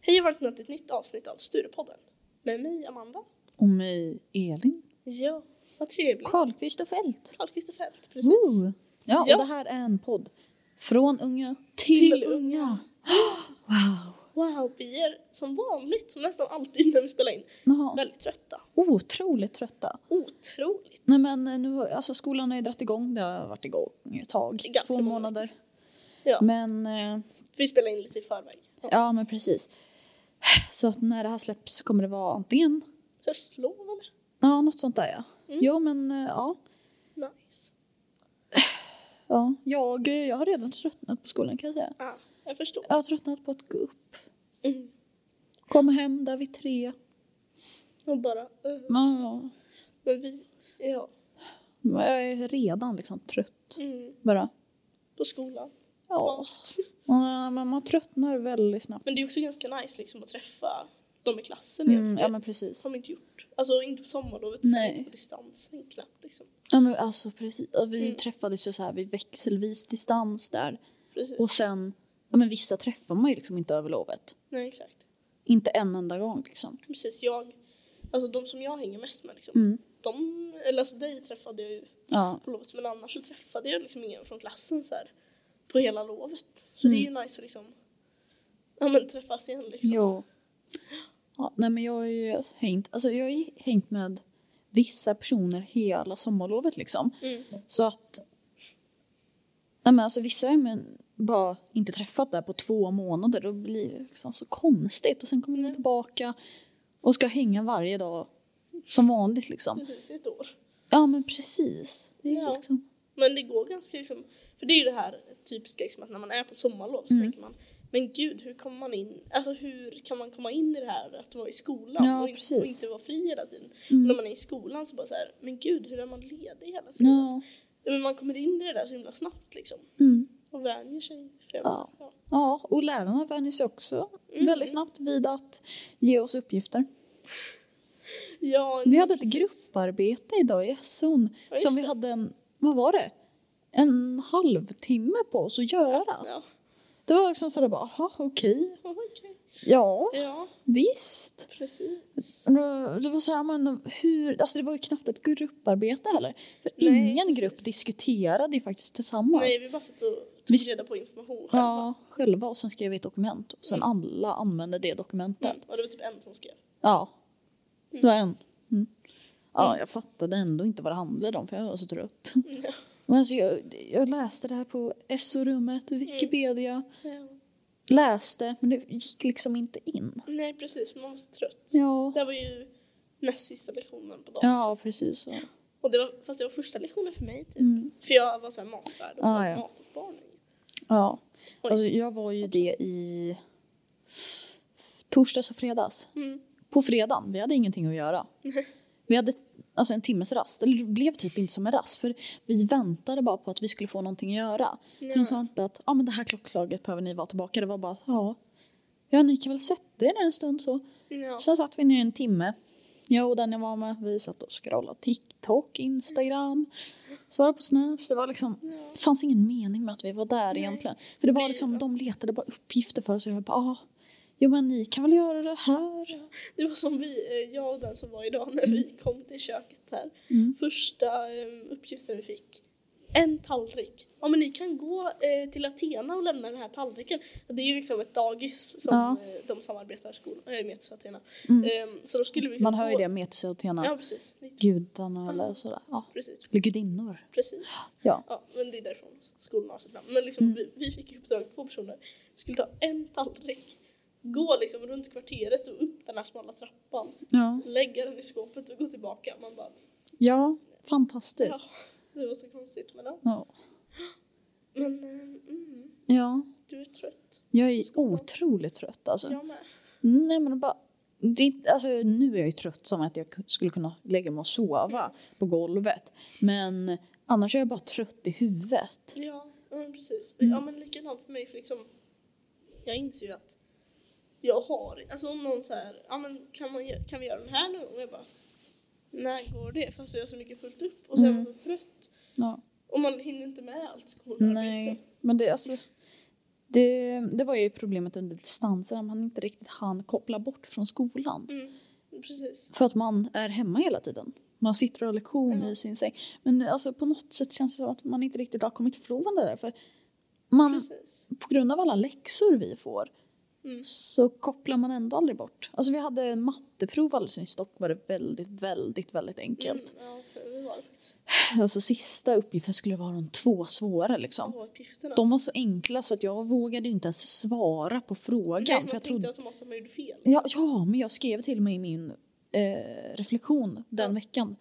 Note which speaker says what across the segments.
Speaker 1: Hej och välkomna till ett nytt avsnitt av Sturepodden. Med mig, Amanda.
Speaker 2: Och mig, Elin.
Speaker 1: Ja, vad trevligt.
Speaker 2: Karlqvist och Fält.
Speaker 1: Karl-Christer Fält, precis.
Speaker 2: Woo! Ja, och
Speaker 1: Ja.
Speaker 2: det här är en podd. Från unga till,
Speaker 1: Till
Speaker 2: unga.
Speaker 1: unga.
Speaker 2: Wow!
Speaker 1: Wow, vi är som vanligt, som nästan alltid när vi spelar in,
Speaker 2: Jaha.
Speaker 1: väldigt trötta.
Speaker 2: Otroligt trötta.
Speaker 1: Otroligt.
Speaker 2: Nej men eh, nu, har- alltså skolan har ju dragit igång, det har varit igång ett tag.
Speaker 1: Det är ganska
Speaker 2: Två
Speaker 1: många
Speaker 2: månader.
Speaker 1: Ja.
Speaker 2: Men, eh,
Speaker 1: Vi spelar in lite i förväg.
Speaker 2: ja men precis. Så att när det här släpps kommer det vara antingen,
Speaker 1: Höstlov eller?
Speaker 2: ja något sånt där ja.
Speaker 1: Mm.
Speaker 2: Jo men eh, ja.
Speaker 1: Nice.
Speaker 2: ja. Jag, eh, jag har redan tröttnat på skolan kan jag säga.
Speaker 1: Ah, jag förstår.
Speaker 2: Jag har tröttnat på att gå upp.
Speaker 1: Mm.
Speaker 2: Komma hem där vid tre.
Speaker 1: Och bara, eh,
Speaker 2: Ja, ja.
Speaker 1: men vi, ja,
Speaker 2: Men Jag är redan liksom trött.
Speaker 1: mm,
Speaker 2: Bara.
Speaker 1: på skolan.
Speaker 2: Ja. Man, man, man tröttnar väldigt snabbt.
Speaker 1: Men det är också ganska nice liksom att träffa de i klassen igen.
Speaker 2: Mm,
Speaker 1: för
Speaker 2: ja
Speaker 1: det
Speaker 2: men precis.
Speaker 1: har vi inte gjort. Alltså inte på sommarlovet,
Speaker 2: Nej.
Speaker 1: inte på distansen knappt liksom.
Speaker 2: Ja, men alltså, precis. Ja, Vi
Speaker 1: Mm.
Speaker 2: träffades ju så här vid växelvis distans där.
Speaker 1: Precis.
Speaker 2: Och sen, ja men vissa träffar man ju liksom inte över lovet.
Speaker 1: Nej, exakt.
Speaker 2: Inte en enda gång liksom.
Speaker 1: Precis, jag, alltså de som jag hänger mest med liksom,
Speaker 2: Mm.
Speaker 1: de, eller alltså dig träffade jag ju
Speaker 2: Ja.
Speaker 1: på lovet men annars så träffade jag liksom ingen från klassen så här på hela lovet. Så det är
Speaker 2: Mm.
Speaker 1: ju nice att liksom, ja men träffas igen liksom.
Speaker 2: Jo. Ja, nej men jag har ju hängt, alltså jag har ju hängt med vissa personer hela sommarlovet liksom.
Speaker 1: Mm.
Speaker 2: Så att... Nej men alltså vissa har jag men bara inte träffat där på två månader. Då blir det liksom så konstigt. Och sen kommer
Speaker 1: Mm.
Speaker 2: man tillbaka och ska hänga varje dag som vanligt liksom.
Speaker 1: Precis, i ett år.
Speaker 2: Ja men precis. Det är ju
Speaker 1: Ja.
Speaker 2: liksom...
Speaker 1: Men det går ganska liksom, för det är ju det här typiska liksom att när man är på sommarlov
Speaker 2: Mm.
Speaker 1: så tänker man men gud hur kommer man in, alltså hur kan man komma in i det här att vara i skolan
Speaker 2: Ja,
Speaker 1: och, inte,
Speaker 2: precis.
Speaker 1: och inte vara fri hela tiden. Och när
Speaker 2: Mm.
Speaker 1: man är i skolan så bara så här, men gud hur är man ledig hela tiden?
Speaker 2: Ja.
Speaker 1: Ja, Men man kommer in i det där så himla snabbt liksom.
Speaker 2: Mm.
Speaker 1: Och vänjer sig. För
Speaker 2: Ja. ja, och lärarna vänjer sig också
Speaker 1: Mm.
Speaker 2: väldigt snabbt vid att ge oss uppgifter.
Speaker 1: ja,
Speaker 2: Vi hade ett
Speaker 1: precis.
Speaker 2: grupparbete idag i SON
Speaker 1: Ja, just
Speaker 2: som vi
Speaker 1: det.
Speaker 2: hade en, vad var det? En halvtimme på oss att göra.
Speaker 1: Ja,
Speaker 2: Det var liksom sådär bara, aha, okej.
Speaker 1: okej.
Speaker 2: Ja,
Speaker 1: Ja,
Speaker 2: visst.
Speaker 1: precis.
Speaker 2: Och då- Det var så här, men hur, alltså det var ju knappt ett grupparbete heller. För
Speaker 1: Nej,
Speaker 2: ingen
Speaker 1: precis.
Speaker 2: grupp diskuterade ju faktiskt tillsammans.
Speaker 1: Nej, vi bara satt och
Speaker 2: Vi-
Speaker 1: tog reda på information själva.
Speaker 2: Ja, själva och sen skrev vi ett dokument. Och sen alla använde det dokumentet.
Speaker 1: Mm. Och det var typ en som skrev.
Speaker 2: Ja, det var en. Mm. Ja,
Speaker 1: Mm.
Speaker 2: jag fattade ändå inte vad det handlade om för jag var så trött.
Speaker 1: Ja.
Speaker 2: Men alltså jag, jag läste det här på SO-rummet,
Speaker 1: Mm.
Speaker 2: Wikipedia,
Speaker 1: Ja.
Speaker 2: läste men det gick liksom inte in.
Speaker 1: Nej, precis. för Man var så trött.
Speaker 2: Ja,
Speaker 1: Det här var ju näst sista lektionen på dagen.
Speaker 2: ja precis. Så.
Speaker 1: Och det var, fast det var första lektionen för mig typ.
Speaker 2: Mm.
Speaker 1: För jag var såhär matvärd och
Speaker 2: Ah,
Speaker 1: ah,
Speaker 2: ja.
Speaker 1: mat åt barnen.
Speaker 2: Ja.
Speaker 1: Oj.
Speaker 2: Alltså, jag var ju det i torsdags och fredags.
Speaker 1: Mm.
Speaker 2: På fredagen, vi hade ingenting att göra. Vi hade alltså, en timmes rast, eller det blev typ inte som en rast för vi väntade bara på att vi skulle få någonting att göra. Så de sa inte att ah, men det här klockslaget behöver ni vara tillbaka, det var bara ja. Ja, ni kan väl sätta er där en stund så.
Speaker 1: Ja.
Speaker 2: Sen satt vi ner i en timme. Jag och den jag var med, vi satt och scrollade TikTok, Instagram, svarade på Snaps. Det var liksom,
Speaker 1: Ja.
Speaker 2: fanns ingen mening med att vi var där
Speaker 1: Nej.
Speaker 2: egentligen. För det
Speaker 1: Blir
Speaker 2: var
Speaker 1: det
Speaker 2: liksom,
Speaker 1: då?
Speaker 2: de letade bara uppgifter för oss och jag bara, ah, jo men ni kan väl göra det här?
Speaker 1: Det var som vi, eh, jag och den som var idag när vi kom till köket här.
Speaker 2: Mm.
Speaker 1: Första eh, uppgiften vi fick. En tallrik. Ja men ni kan gå eh, till Athena och lämna den här tallriken. Det är ju liksom ett dagis som
Speaker 2: Ja.
Speaker 1: eh, de samarbetar skolan, eh, med till Athena.
Speaker 2: Mm.
Speaker 1: Eh, Så då skulle vi
Speaker 2: Man hör ju
Speaker 1: gå-
Speaker 2: det med till sig och Tena.
Speaker 1: Ja precis.
Speaker 2: Gudarna eller sådär. Ja.
Speaker 1: Precis.
Speaker 2: Eller gudinnor.
Speaker 1: Precis.
Speaker 2: Ja. Mm.
Speaker 1: ja. Men det är därifrån skolan har sitt namn. Men liksom, vi, vi fick i uppdrag, två personer, vi skulle ta en tallrik, gå liksom runt kvarteret och upp den här smala trappan,
Speaker 2: Ja,
Speaker 1: lägga den i skåpet och gå tillbaka. Man bara,
Speaker 2: ja fantastiskt.
Speaker 1: ja, det var så konstigt men ja.
Speaker 2: Ja.
Speaker 1: Men eh, mm,
Speaker 2: ja,
Speaker 1: du är trött.
Speaker 2: jag är otroligt trött alltså.
Speaker 1: Jag med.
Speaker 2: Nej men bara, det, alltså, nu är jag ju trött som att jag ku- skulle kunna lägga mig och sova på golvet. Men annars är jag bara trött i huvudet.
Speaker 1: Ja, mm, precis. Ja men likadant för mig för liksom, jag inser ju att jag har, alltså om någon så här, ja men kan, man, gö- kan vi göra den här någon gång? Jag bara, när går det? Fast jag har så mycket fullt upp och så är man
Speaker 2: Mm.
Speaker 1: så trött.
Speaker 2: Ja.
Speaker 1: Och man hinner inte med allt skolarbete.
Speaker 2: Nej, men det, alltså, Det, det var ju problemet under distansen, att man inte riktigt hann koppla bort från skolan.
Speaker 1: Mm, precis.
Speaker 2: För att man är hemma hela tiden. Man sitter och har lektion
Speaker 1: Ja.
Speaker 2: i sin säng. Men alltså, på något sätt känns det som att man inte riktigt har kommit ifrån det där. För man,
Speaker 1: Mm. precis.
Speaker 2: på grund av alla läxor vi får
Speaker 1: Mm.
Speaker 2: så kopplar man ändå aldrig bort. Alltså vi hade en matteprov alldeles nyss, dock var det väldigt, väldigt, väldigt enkelt.
Speaker 1: Mm, ja, för det var det faktiskt.
Speaker 2: Alltså sista uppgiften skulle vara de två svåra liksom.
Speaker 1: Ja. Uppgifterna.
Speaker 2: De var så enkla så att jag vågade ju inte ens svara på frågan.
Speaker 1: Nej, man
Speaker 2: för jag
Speaker 1: tänkte
Speaker 2: trodde...
Speaker 1: automatiskt att man gjorde fel.
Speaker 2: ja, ja, men jag skrev till mig i min eh, reflektion den
Speaker 1: Ja.
Speaker 2: veckan.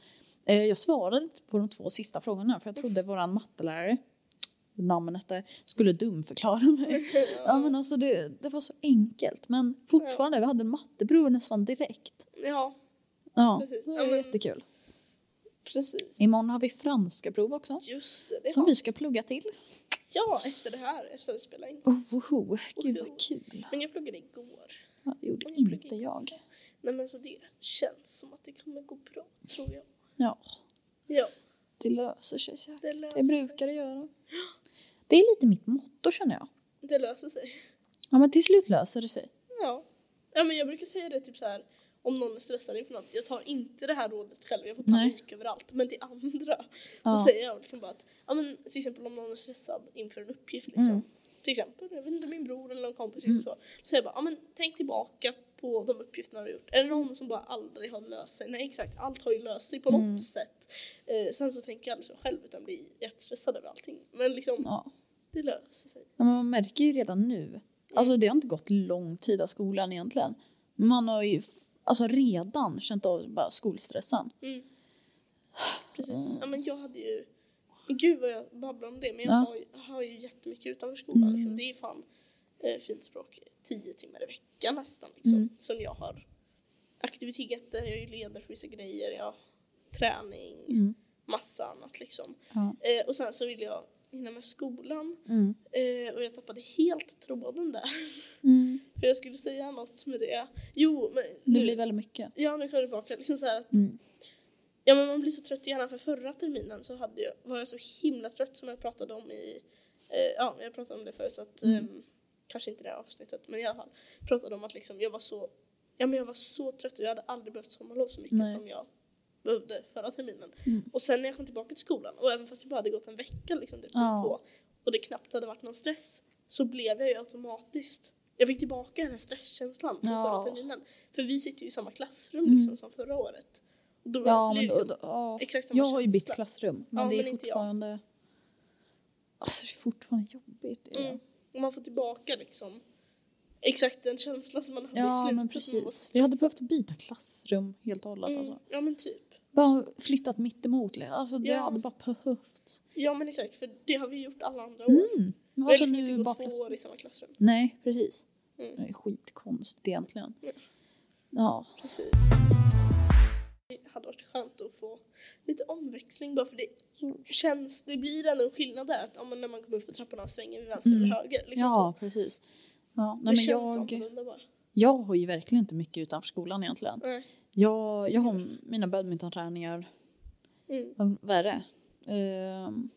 Speaker 2: Eh, jag svarade inte på de två sista frågorna för jag trodde våran mattelärare, namnet där, skulle dumförklara mig. Ja, men alltså det, det var så enkelt. Men fortfarande, vi hade en matteprov nästan direkt.
Speaker 1: ja,
Speaker 2: Ja,
Speaker 1: Precis.
Speaker 2: det
Speaker 1: Ja,
Speaker 2: är
Speaker 1: men-
Speaker 2: jättekul.
Speaker 1: precis.
Speaker 2: Imorgon har vi franska prov också.
Speaker 1: Just det, det
Speaker 2: Som
Speaker 1: har
Speaker 2: vi ska plugga till.
Speaker 1: jag efter det här, efter att vi spelade in.
Speaker 2: Oho, oh. gud vad kul.
Speaker 1: Men jag pluggade igår.
Speaker 2: Ja, det gjorde inte jag.
Speaker 1: Nej men så det känns som att det kommer gå bra, tror jag.
Speaker 2: Ja,
Speaker 1: Ja,
Speaker 2: det löser sig säkert.
Speaker 1: det löser
Speaker 2: Det
Speaker 1: sig.
Speaker 2: brukar det göra. Det är lite mitt motto känner jag.
Speaker 1: Det löser sig.
Speaker 2: Ja, men till slut löser det sig.
Speaker 1: Ja. ja, men jag brukar säga det typ så här om någon är stressad inför något. Jag tar inte det här rådet själv, jag får
Speaker 2: Nej.
Speaker 1: panik överallt. Men till andra
Speaker 2: Ja.
Speaker 1: så säger jag liksom bara att, ja men till exempel om någon är stressad inför en uppgift liksom.
Speaker 2: Mm.
Speaker 1: Till exempel, jag vet inte, min bror eller någon kompis eller så. Så säger jag bara, ja men tänk tillbaka på de uppgifterna du har gjort. Är det någon som bara aldrig har löst sig? Nej exakt, allt har ju löst sig på
Speaker 2: Mm.
Speaker 1: något sätt. Eh, sen så tänker jag aldrig så själv utan blir jättestressad över allting. Men liksom,
Speaker 2: Ja.
Speaker 1: det löser sig.
Speaker 2: Ja, men man märker ju redan nu. Alltså det har inte gått lång tid av skolan egentligen. Man har ju f- alltså, redan känt av bara skolstressen.
Speaker 1: Mm.
Speaker 2: Mm.
Speaker 1: Precis. Ja, men jag hade ju... Gud vad jag babblar om det men jag
Speaker 2: Ja.
Speaker 1: har, ju- har ju jättemycket utanför skolan.
Speaker 2: Mm.
Speaker 1: Liksom. Det är fan eh, fint språk tio timmar i veckan nästan liksom,
Speaker 2: Mm.
Speaker 1: som jag har aktiviteter, jag är ju ledare för vissa grejer, jag har träning,
Speaker 2: Mm.
Speaker 1: massa annat liksom.
Speaker 2: Ja.
Speaker 1: Eh, och sen så ville jag hinna med skolan
Speaker 2: Mm.
Speaker 1: eh, och jag tappade helt tråden där.
Speaker 2: Mm.
Speaker 1: För jag skulle säga något med det. Jo men
Speaker 2: Det
Speaker 1: nu,
Speaker 2: blir väldigt mycket.
Speaker 1: ja, nu kommer jag tillbaka liksom så här att
Speaker 2: Mm.
Speaker 1: Ja men man blir så trött i hjärnan för förra terminen så hade jag, var jag så himla trött som jag pratade om i, eh, ja jag pratade om det förut så att,
Speaker 2: Mm.
Speaker 1: ehm, kanske inte i det här avsnittet men i alla fall, pratade om att liksom jag var så, ja men jag var så trött och jag hade aldrig behövt sommarlov så mycket
Speaker 2: Nej.
Speaker 1: som jag behövde förra terminen.
Speaker 2: Mm.
Speaker 1: Och sen när jag kom tillbaka till skolan och även fast det bara hade gått en vecka liksom det
Speaker 2: Ja.
Speaker 1: på och det knappt hade varit någon stress så blev jag ju automatiskt jag fick tillbaka den här stresskänslan från
Speaker 2: Ja.
Speaker 1: förra terminen. För vi sitter ju i samma klassrum
Speaker 2: Mm.
Speaker 1: liksom, som förra året. Och då
Speaker 2: Ja,
Speaker 1: blir
Speaker 2: men
Speaker 1: det
Speaker 2: då,
Speaker 1: liksom,
Speaker 2: då, ja.
Speaker 1: Exakt samma
Speaker 2: Jag har ju bytt
Speaker 1: känsla.
Speaker 2: klassrum, men
Speaker 1: Ja,
Speaker 2: det är
Speaker 1: men inte jag.
Speaker 2: fortfarande... Alltså det är fortfarande jobbigt. är det.
Speaker 1: Mm. Och man får tillbaka liksom exakt den känslan som man hade i
Speaker 2: Ja,
Speaker 1: slutet.
Speaker 2: men
Speaker 1: som man var
Speaker 2: precis.
Speaker 1: stressad.
Speaker 2: Vi hade behövt byta klassrum helt och hållet.
Speaker 1: mm.
Speaker 2: Alltså.
Speaker 1: Ja men typ.
Speaker 2: Bara flyttat mitt emot. Alltså, det
Speaker 1: Ja.
Speaker 2: hade bara behövt.
Speaker 1: Ja men exakt för det har vi gjort alla andra år.
Speaker 2: Mm.
Speaker 1: Vi
Speaker 2: Men
Speaker 1: har
Speaker 2: alltså,
Speaker 1: liksom
Speaker 2: nu
Speaker 1: inte
Speaker 2: är bara
Speaker 1: gått två
Speaker 2: klass...
Speaker 1: år i samma klassrum.
Speaker 2: Nej, precis.
Speaker 1: Mm.
Speaker 2: Det är skitkonstigt egentligen.
Speaker 1: Ja.
Speaker 2: Ja.
Speaker 1: Precis. Det hade varit skönt att få lite omväxling bara för det känns, det blir ändå en skillnad där att ja, men när man kommer upp för trapporna och svänger vi vänster
Speaker 2: Mm.
Speaker 1: eller höger. Liksom
Speaker 2: ja,
Speaker 1: så.
Speaker 2: precis. Ja,
Speaker 1: Det
Speaker 2: nej, men
Speaker 1: känns
Speaker 2: jag,
Speaker 1: annorlunda bara.
Speaker 2: jag har ju verkligen inte mycket utanför skolan egentligen.
Speaker 1: Nej.
Speaker 2: Jag, jag har mina badmintonträningar
Speaker 1: Mm.
Speaker 2: Vad- Vad är det? Ehm,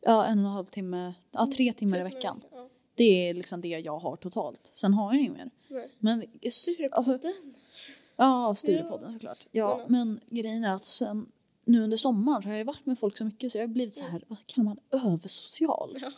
Speaker 2: ja, en och en halv timme. Ja, Mm, tre timmar i
Speaker 1: Tre
Speaker 2: veckan.
Speaker 1: Ja.
Speaker 2: Det är liksom det jag har totalt. Sen har jag inget mer.
Speaker 1: Nej.
Speaker 2: Men, alltså,
Speaker 1: Den.
Speaker 2: ja, studiepodden såklart. Ja,
Speaker 1: Ja.
Speaker 2: men grejen är att sen, nu under sommaren så har jag varit med folk så mycket så jag har blivit så här, vad kallar man, översocial.
Speaker 1: Ja.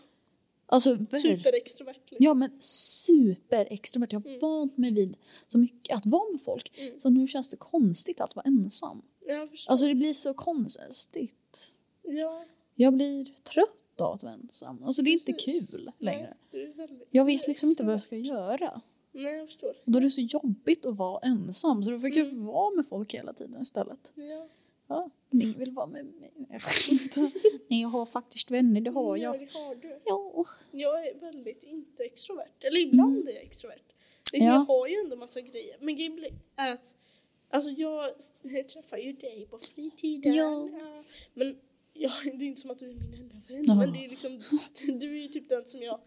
Speaker 2: Alltså, ver-
Speaker 1: Superextrovert liksom.
Speaker 2: Ja men superextrovert. Jag har
Speaker 1: Mm.
Speaker 2: vant mig vid så mycket att vara med folk.
Speaker 1: Mm.
Speaker 2: Så nu känns det konstigt att vara ensam.
Speaker 1: Jag förstår.
Speaker 2: Alltså det blir så konstigt.
Speaker 1: ja.
Speaker 2: Jag blir trött av att vara ensam. Alltså det är inte
Speaker 1: Precis.
Speaker 2: kul längre.
Speaker 1: Nej, du är väldigt-
Speaker 2: Jag vet liksom inte vad jag ska göra.
Speaker 1: Nej, jag förstår.
Speaker 2: Och då är det så jobbigt att vara ensam så då fick jag
Speaker 1: Mm.
Speaker 2: vara med folk hela tiden istället.
Speaker 1: Ja.
Speaker 2: Ja, ni vill vara med mig. Nej, jag skämtar. Nej, jag Mm. har faktiskt vänner, det har
Speaker 1: Ja,
Speaker 2: jag.
Speaker 1: det har du.
Speaker 2: Ja.
Speaker 1: Jag är väldigt inte extrovert. Eller ibland är jag extrovert. Liksom,
Speaker 2: Mm. Ja.
Speaker 1: Jag har ju ändå massa grejer. Men grejen blir- är att alltså, jag träffar ju dig på fritiden.
Speaker 2: Ja.
Speaker 1: Men ja, det är inte som att du är min enda vän.
Speaker 2: Ja.
Speaker 1: Men det är liksom, du är ju typ den som jag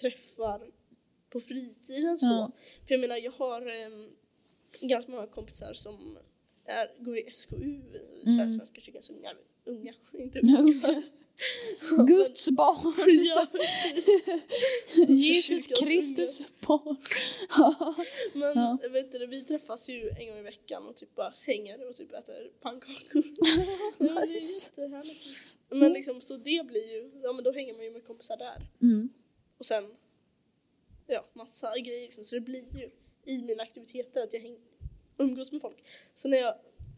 Speaker 1: träffar på fritiden. Så.
Speaker 2: Ja.
Speaker 1: För jag menar, jag har em, ganska många kompisar som är, går i SKU, så här,
Speaker 2: Mm.
Speaker 1: Svenska kyrkans unga, unga inte unga.
Speaker 2: Guds barn.
Speaker 1: Ja,
Speaker 2: Jesus
Speaker 1: kyrkans
Speaker 2: Kristus barn.
Speaker 1: men
Speaker 2: Ja.
Speaker 1: vet du, vi träffas ju en gång i veckan och typ bara hänger och typ äter pannkakor. Det är ju
Speaker 2: Nice.
Speaker 1: jättehärligt. Men liksom, så det blir ju, ja men då hänger man ju med kompisar där.
Speaker 2: Mm.
Speaker 1: Och sen, ja massa grejer liksom. Så det blir ju i mina aktiviteter att jag häng, umgås med folk. Så när jag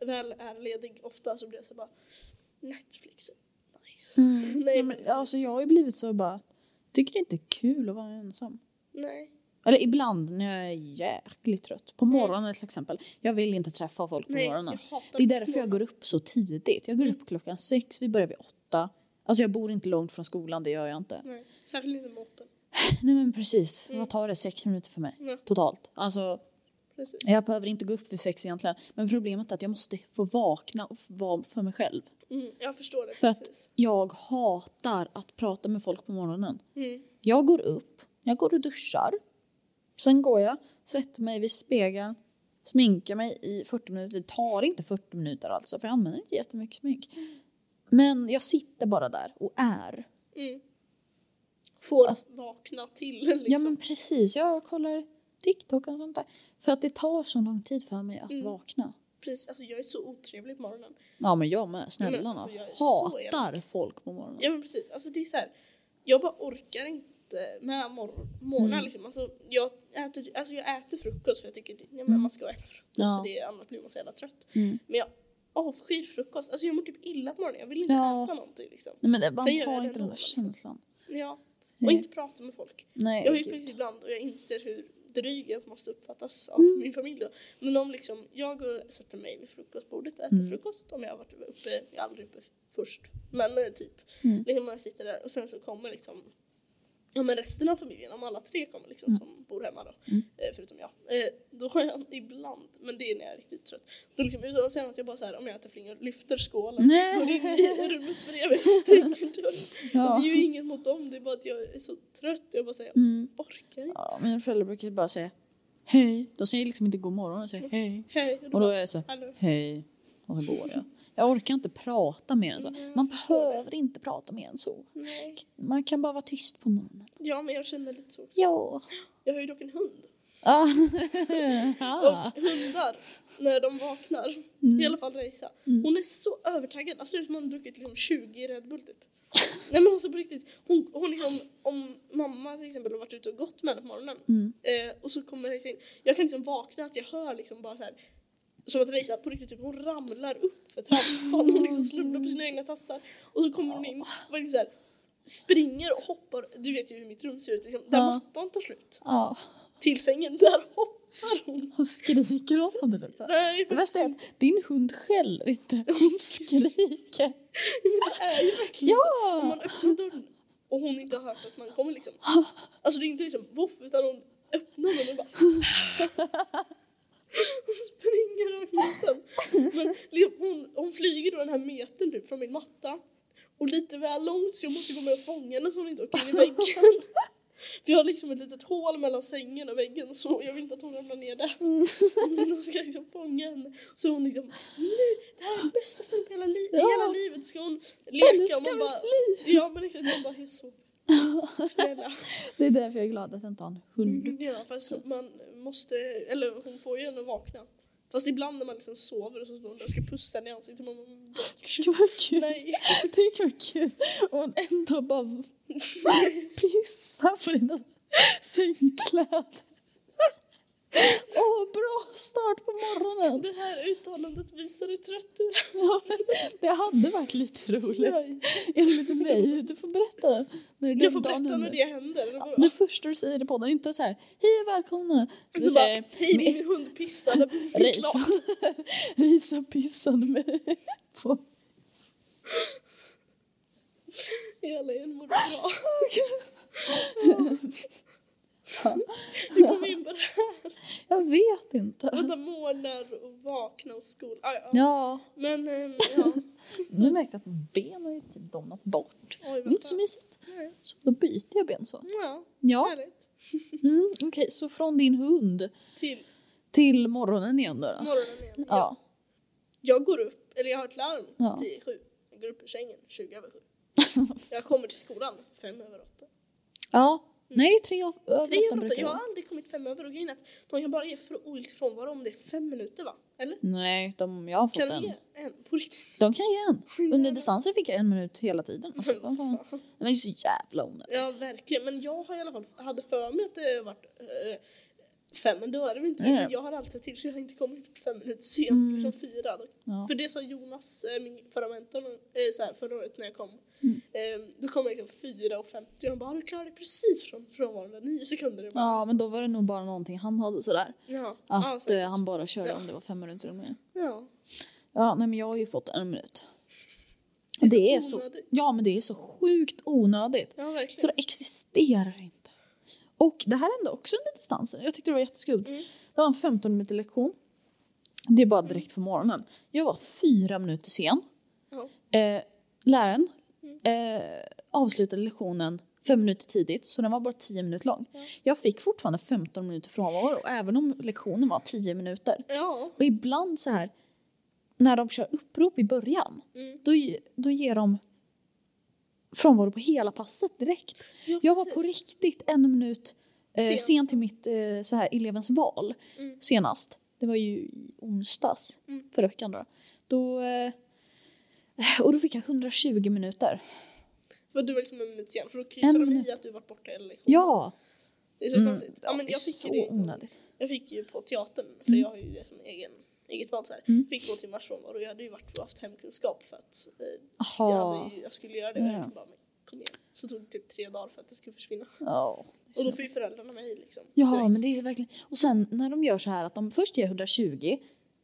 Speaker 1: väl är ledig ofta så blir jag så här bara Netflix, nice.
Speaker 2: Mm.
Speaker 1: Nej,
Speaker 2: Nej,
Speaker 1: men-
Speaker 2: men, alltså, jag har ju blivit så bara, tycker det inte är kul att vara ensam.
Speaker 1: Nej.
Speaker 2: Eller ibland när jag är jäkligt trött. På morgonen till exempel. Jag vill inte träffa folk på
Speaker 1: Mm. Nej,
Speaker 2: morgonen.
Speaker 1: jag Mm. hatar
Speaker 2: Det är därför jag går upp så tidigt. Jag går upp klockan sex, vi börjar vid åtta. Alltså jag bor inte långt från skolan, det gör jag inte.
Speaker 1: Nej, särskilt inte moppen.
Speaker 2: Nej men precis,
Speaker 1: Mm.
Speaker 2: vad tar det? Sex minuter för mig?
Speaker 1: Ja.
Speaker 2: Totalt. Alltså
Speaker 1: Precis.
Speaker 2: jag behöver inte gå upp vid sex egentligen. Men problemet är att jag måste få vakna och få vara för mig själv.
Speaker 1: Mm, jag förstår det
Speaker 2: För att-
Speaker 1: precis.
Speaker 2: Jag hatar att prata med folk på morgonen.
Speaker 1: Mm.
Speaker 2: Jag går upp, jag går och duschar. Sen går jag, sätter mig vid spegeln, sminkar mig i 40 minuter. Det tar inte 40 minuter alltså, för jag använder inte jättemycket smink. Men jag sitter bara där och är.
Speaker 1: Mm. Får
Speaker 2: Alltså-
Speaker 1: vakna till liksom.
Speaker 2: Ja men precis, jag kollar TikTok och sånt där. För att det tar så lång tid för mig att
Speaker 1: Mm.
Speaker 2: vakna.
Speaker 1: Precis, alltså jag är så otrevlig på morgonen.
Speaker 2: Ja men jag med, snälla
Speaker 1: Ja, men
Speaker 2: ja,
Speaker 1: alltså, jag är så
Speaker 2: Hatar folk på morgonen.
Speaker 1: Ja men precis, alltså det är så här. Jag bara orkar inte med mor- morgnar
Speaker 2: Mm.
Speaker 1: liksom. Alltså jag, äter, alltså jag äter frukost för jag tycker det, ja, men
Speaker 2: Mm.
Speaker 1: man ska äta frukost
Speaker 2: Ja.
Speaker 1: för det, annars blir man så jävla trött.
Speaker 2: Mm.
Speaker 1: Men jag avskyr frukost, alltså jag mår typ illa på morgonen. Jag vill inte
Speaker 2: Ja.
Speaker 1: äta någonting liksom.
Speaker 2: Nej, men det, man
Speaker 1: Sen gör jag
Speaker 2: har
Speaker 1: det
Speaker 2: inte den
Speaker 1: ändå,
Speaker 2: där
Speaker 1: liksom.
Speaker 2: känslan.
Speaker 1: Ja. Och
Speaker 2: Nej.
Speaker 1: inte prata med folk.
Speaker 2: Nej,
Speaker 1: Jag har ju
Speaker 2: gud.
Speaker 1: faktiskt ibland och jag inser hur dryg jag måste uppfattas av
Speaker 2: Mm.
Speaker 1: min familj då. Men om liksom, jag går och sätter mig vid frukostbordet och äter
Speaker 2: Mm.
Speaker 1: frukost om jag har varit uppe, jag är aldrig uppe f- först, men eh, typ.
Speaker 2: Mm.
Speaker 1: Liksom jag sitter där och sen så kommer liksom Ja men resten av familjen, om alla tre kommer liksom som bor hemma då,
Speaker 2: Mm.
Speaker 1: eh, förutom jag. Eh, då har jag ibland, men det är när jag är riktigt trött, då liksom utan att säga något, jag bara så här, om jag äter flingor, lyfter skålen.
Speaker 2: Nej.
Speaker 1: Går in i rummet bredvid och stänger dörren. Och
Speaker 2: ja.
Speaker 1: det är ju inget mot dem, det är bara att jag är så trött. Jag bara säger,
Speaker 2: Mm.
Speaker 1: jag orkar inte.
Speaker 2: ja, mina föräldrar brukar ju bara säga hej. De säger liksom inte god morgon, de säger hej.
Speaker 1: Hej. Och då
Speaker 2: Och då
Speaker 1: bara,
Speaker 2: är jag så här,
Speaker 1: hallå.
Speaker 2: hej. Och så går jag. Jag orkar inte prata mer än så.
Speaker 1: Nej, jag
Speaker 2: Man
Speaker 1: förstår det.
Speaker 2: behöver inte prata mer än så.
Speaker 1: Nej.
Speaker 2: Man kan bara vara tyst på morgonen.
Speaker 1: Ja men jag känner lite så.
Speaker 2: Ja.
Speaker 1: Jag har ju dock en hund.
Speaker 2: Ah.
Speaker 1: Och hundar, när de vaknar,
Speaker 2: Mm.
Speaker 1: i alla fall Reisa, hon är så övertaggad. Alltså det är som om hon druckit liksom 20 Red Bull typ. Nej men alltså på riktigt. Hon, hon liksom, om mamma till exempel har varit ute och gått med henne på morgonen
Speaker 2: Mm.
Speaker 1: eh, och så kommer Reisa in. Jag kan liksom vakna att jag hör liksom bara så här. Som att Reisa på riktigt typ, hon ramlar upp för trappan. Hon liksom snubblar på sina egna tassar. Och så kommer hon in och liksom så här, springer och hoppar. Du vet ju hur mitt rum ser ut. Liksom, där
Speaker 2: Ja.
Speaker 1: mattan tar slut.
Speaker 2: Ja.
Speaker 1: Till sängen, där hoppar hon.
Speaker 2: Hon skriker åt honom lite.
Speaker 1: Nej,
Speaker 2: Det värsta är att din hund skäller inte. Hon skriker.
Speaker 1: det är ju verkligen så. Om
Speaker 2: Ja!
Speaker 1: man öppnar dörren och hon inte har hört att man kommer liksom. Alltså det är inte liksom voff utan hon öppnar den och bara och springer över mattan. Men liksom, hon, hon flyger då den här metern typ från min matta och lite väl långt så jag måste gå med och fånga henne så hon inte åker in i väggen. För jag har liksom ett litet hål mellan sängen och väggen så jag vill inte att hon ramlar ner där. Men då ska jag liksom fånga henne. Så hon liksom, nu, det här är det bästa som hänt i hela, li- i
Speaker 2: Ja.
Speaker 1: hela livet. Ska hon leka och
Speaker 2: Älskar
Speaker 1: man
Speaker 2: mitt
Speaker 1: bara, ja men liksom man bara, jag är så snälla.
Speaker 2: Det är därför jag är glad att jag inte har en hund.
Speaker 1: Ja fast man måste, eller hon får ju henne att vakna. Fast ibland när man liksom sover och så står hon där och ska pussa henne i ansiktet. Man bara,
Speaker 2: Gud vad kul.
Speaker 1: nej.
Speaker 2: Tänk vad kul om hon ändå bara pissar på dina sängkläder. Åh, bra start på morgonen.
Speaker 1: Det här uttalandet visar hur trött du är.
Speaker 2: Ja, men det hade varit lite roligt.
Speaker 1: Nej.
Speaker 2: Enligt mig. Du får berätta. När
Speaker 1: Jag får
Speaker 2: dagen
Speaker 1: berätta när
Speaker 2: händer.
Speaker 1: det händer. eller vadå?
Speaker 2: Det första du säger i podden, inte så här hej välkomna.
Speaker 1: Du
Speaker 2: Du
Speaker 1: bara,
Speaker 2: säger
Speaker 1: hej min hund pissade på min
Speaker 2: ris.
Speaker 1: plan.
Speaker 2: ris och pissade mig på.
Speaker 1: Hela en mår bra. Du kom in på det här.
Speaker 2: Jag vet inte.
Speaker 1: Vänta, månar och vakna och skola. Ah, ja.
Speaker 2: Ja,
Speaker 1: Men ehm, ja.
Speaker 2: nu märkte jag att benen är typ domnat bort.
Speaker 1: Oj,
Speaker 2: Det är inte så mysigt.
Speaker 1: Nej.
Speaker 2: Så då byter jag ben så.
Speaker 1: Ja,
Speaker 2: Ja,
Speaker 1: härligt.
Speaker 2: mm, okej, så från din hund
Speaker 1: Till
Speaker 2: till morgonen igen då. då.
Speaker 1: morgonen igen.
Speaker 2: Ja.
Speaker 1: Jag går upp, eller jag har ett larm
Speaker 2: Ja.
Speaker 1: till sju. Jag går upp ur sängen 20 över sju. Jag kommer till skolan fem över åtta.
Speaker 2: Ja. Nej, tre av- över
Speaker 1: Mm. Tre
Speaker 2: åtta
Speaker 1: över åtta,
Speaker 2: brukar det
Speaker 1: jag
Speaker 2: vara.
Speaker 1: har aldrig kommit fem över och grejen är att de kan bara ge fr- ogiltig frånvaro om det är fem minuter va? Eller?
Speaker 2: Nej, de, jag har fått
Speaker 1: Kan
Speaker 2: en.
Speaker 1: du ge en? På riktigt?
Speaker 2: De kan ge en.
Speaker 1: Mm.
Speaker 2: Under distansen fick jag en minut hela tiden. Alltså, vad fan.
Speaker 1: Fan.
Speaker 2: Det var ju så jävla onödigt.
Speaker 1: Mm. Ja verkligen, men jag har i alla fall hade för mig att det varit eh, fem, men då är det väl inte det.
Speaker 2: Nej.
Speaker 1: Men Jag har alltid sett till så jag har inte kommit fem minuter sent,
Speaker 2: Mm.
Speaker 1: liksom fyra. Då.
Speaker 2: Ja.
Speaker 1: För det sa Jonas, eh, min förra mentor, eh, så här, förra året när jag kom.
Speaker 2: Mm.
Speaker 1: Eh, då kom jag liksom fyra och femtio och han bara du klarade dig precis från frånvaron, nio sekunder. Jag bara,
Speaker 2: Ja, men då var det nog bara någonting han hade sådär.
Speaker 1: ja. ja,
Speaker 2: Att eh,
Speaker 1: säkert.
Speaker 2: han bara körde
Speaker 1: Ja.
Speaker 2: om det var fem minuter eller mer.
Speaker 1: ja.
Speaker 2: Ja, nej men jag har ju fått en minut.
Speaker 1: Det är
Speaker 2: Det är
Speaker 1: så
Speaker 2: så,
Speaker 1: Liksom onödigt.
Speaker 2: ja, men det är så sjukt onödigt.
Speaker 1: ja verkligen.
Speaker 2: Så det existerar inte. Och det här hände också under distansen. Jag tyckte det var jätteskumt.
Speaker 1: Mm.
Speaker 2: Det var en 15 minuter lektion. Det är bara direkt på morgonen. Jag var fyra minuter sen.
Speaker 1: Ja. Mm.
Speaker 2: Eh, läraren eh, avslutade lektionen fem minuter tidigt, så den var bara 10 minuter lång.
Speaker 1: Ja.
Speaker 2: Jag fick fortfarande 15 minuter frånvaro, även om lektionen var 10 minuter.
Speaker 1: Ja.
Speaker 2: Och ibland så här, när de kör upprop i början,
Speaker 1: Mm.
Speaker 2: då, ge- då ger de frånvaro på hela passet direkt.
Speaker 1: ja
Speaker 2: Jag var på
Speaker 1: precis.
Speaker 2: riktigt en minut eh,
Speaker 1: Sen.
Speaker 2: sen. till mitt eh, så här, elevens val
Speaker 1: Mm.
Speaker 2: senast. Det var ju i onsdags
Speaker 1: Mm.
Speaker 2: förra veckan. Då. Då, eh, och då fick jag 120 minuter.
Speaker 1: Var du var liksom en minut sen för då kryssade
Speaker 2: En
Speaker 1: de
Speaker 2: minut.
Speaker 1: i att du var borta eller lektion.
Speaker 2: Ja,
Speaker 1: Det är så
Speaker 2: Mm.
Speaker 1: konstigt. Ja, men
Speaker 2: det är
Speaker 1: jag fick
Speaker 2: så
Speaker 1: ju det.
Speaker 2: onödigt.
Speaker 1: Jag fick ju på teatern, för jag har ju det som egen, eget val så här.
Speaker 2: Mm.
Speaker 1: Fick två timmars frånvaro och jag hade ju varit haft hemkunskap för att eh, jag,
Speaker 2: Aha.
Speaker 1: hade ju, jag skulle göra det och jag
Speaker 2: Ja.
Speaker 1: bara men, kom igen. Så tog det typ tre dagar för att det skulle försvinna.
Speaker 2: Ja.
Speaker 1: Och då får ju föräldrarna mig liksom.
Speaker 2: Ja,
Speaker 1: direkt.
Speaker 2: men det är verkligen... Och sen när de gör så här att de först ger 120,